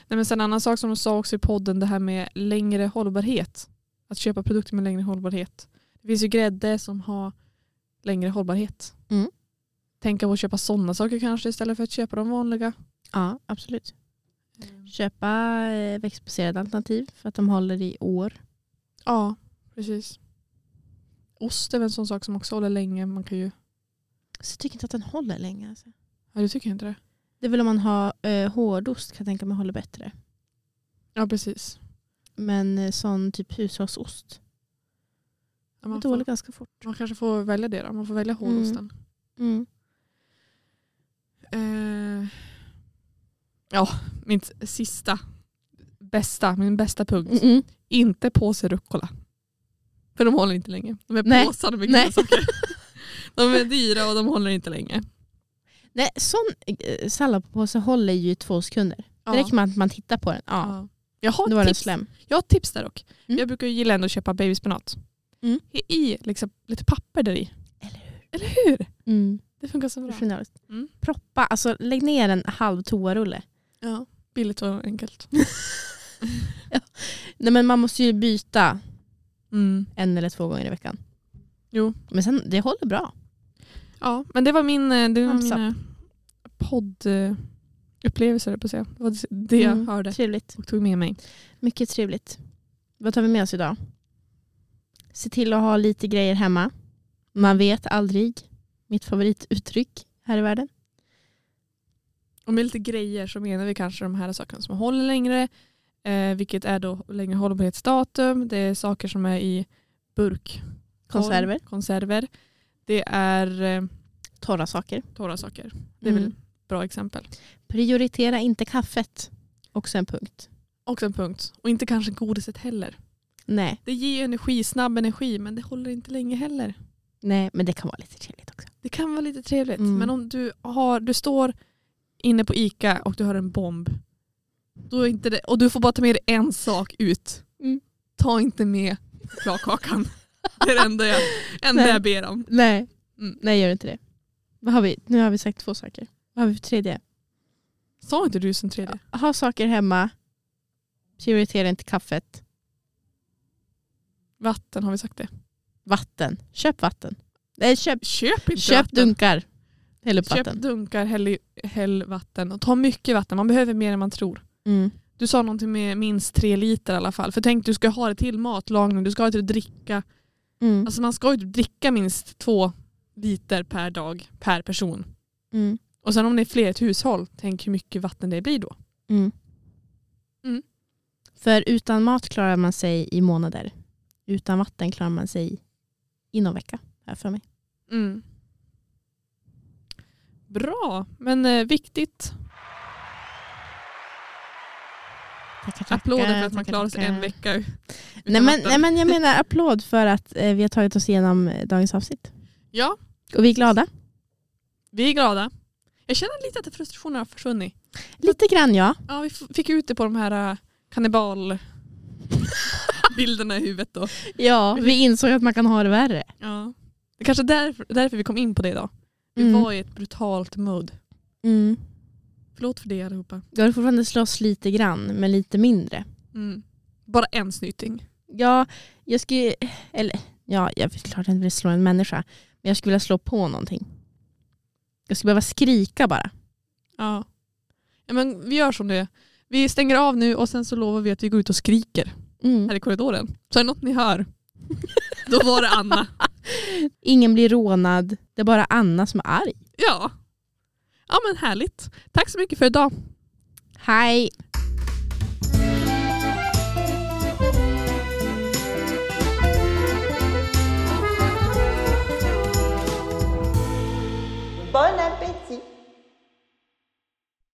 Nej, men sen en annan sak som de sa också i podden, det här med längre hållbarhet. Att köpa produkter med längre hållbarhet. Det finns ju grädde som har längre hållbarhet.
Mm.
Tänka på att köpa sådana saker kanske istället för att köpa de vanliga.
Ja, absolut. Köpa eh, växtbaserade alternativ för att de håller i år.
Ja, precis. Ost är väl en sån sak som också håller länge. Man kan ju...
Så Alltså, jag tycker inte att den håller länge. Alltså.
Ja, du tycker inte det?
Det är väl om man har eh, hårdost kan jag tänka mig håller bättre.
Ja, precis.
Men eh, sån typ hushållsost,
Ja,
den
man,
dålig
får,
ganska fort.
man kanske får välja det då. Man får välja
Mm.
hårdosten.
Mm.
Eh, ja, min sista, bästa, min bästa punkt.
Mm-mm.
Inte påse rucola. För de håller inte länge. De är
Nej.
påsade med
Nej.
goda saker. De är dyra och de håller inte länge.
Nej, sån eh, salladpåse håller ju i två sekunder. Det räcker med att man tittar på den. Ja,
Ja. Jag,
då var
har
den
tips.
slem.
jag har ett tips där dock.
Mm.
Jag brukar ju gilla ändå att köpa babyspenat.
Mm.
I, i liksom, lite papper där i.
Eller hur?
Eller hur?
Mm.
Det funkar så bra.
Genialiskt.
Mm.
Proppa, alltså lägg ner en halv toarulle.
Ja. Billigt och enkelt.
Nej men man måste ju byta
Mm.
en eller två gånger i veckan.
Jo.
Men sen, det håller bra.
Ja, men det var min eh, det var
Thumbs
mina poddupplevelser, höll jag på att säga. Det var det jag
Mm.
hörde
Trevligt.
och tog med mig.
Mycket trevligt. Vad tar vi med oss idag? Se till att ha lite grejer hemma. Man vet aldrig. Mitt favorituttryck här i världen.
Och med lite grejer så menar vi kanske de här sakerna som håller längre, eh, vilket är då längre hållbarhetsdatum. Det är saker som är i burk.
Konserver.
konserver. Det är eh,
Torra saker.
torra saker. Det är väl
Mm.
ett bra exempel.
Prioritera inte kaffet. Också en punkt.
Också en punkt. Och inte kanske godiset heller.
Nej,
Det ger ju energi, snabb energi, men det håller inte länge heller.
nej men det kan vara lite trevligt också.
Det kan vara lite trevligt,
Mm.
men om du, har, du står inne på ICA och du har en bomb då är inte det, och du får bara ta med dig en sak ut.
Mm.
Ta inte med chokladkakan. det är det enda jag, enda
Nej.
jag ber om.
Nej,
Mm.
nej gör inte det. Vad har vi? Nu har vi sagt två saker. Vad har vi för tredje?
Sa inte du som tredje?
Ha saker hemma. Prioritera inte kaffet.
Vatten, har vi sagt det?
Vatten. Köp vatten. Nej, köp,
Köp inte
köp
vatten.
dunkar. Häll upp
Köp
vatten.
dunkar, häll, i- häll vatten. Och ta mycket vatten, man behöver mer än man tror.
Mm.
Du sa någonting med minst tre liter i alla fall. För tänk, du ska ha det till matlagning, du ska ha det till att dricka.
Mm.
Alltså man ska ju dricka minst två liter per dag, per person.
Mm.
Och sen om det är fler i ett hushåll, tänk hur mycket vatten det blir då.
Mm.
Mm.
För utan mat klarar man sig i månader. Utan vatten klarar man sig i någon vecka. Här för mig.
Mm. Bra, men eh, viktigt.
Tackar, tackar,
Applåder för att man
tackar,
klarar sig
tackar.
en vecka utan
Nej men,
vatten.
nej men jag menar applåd för att eh, vi har tagit oss igenom eh, dagens avsnitt.
Ja,
Och vi är glada.
vi är glada. Jag känner lite att frustrationen har försvunnit.
Lite grann ja.
Ja, vi f- fick ut det på de här eh, kannibalbilderna i huvudet då.
Ja, vi insåg att man kan ha det värre.
Ja. Det är kanske är därför, därför vi kom in på det idag. Vi
Mm.
var i ett brutalt mode.
Mm.
Förlåt för det allihopa.
Du har fortfarande slåss lite grann, men lite mindre.
Mm. Bara en snyting.
Ja, jag skulle... Eller, ja, jag vill klart inte vill slå en människa. Men jag skulle vilja slå på någonting. Jag skulle behöva skrika bara.
Ja. ja. men vi gör som det är. Vi stänger av nu och sen så lovar vi att vi går ut och skriker
Mm.
här i korridoren. Så är det något ni hör, då var det Anna.
Ingen blir rånad. Det är bara Anna som är arg.
Ja. Ja men härligt. Tack så mycket för idag.
Hej!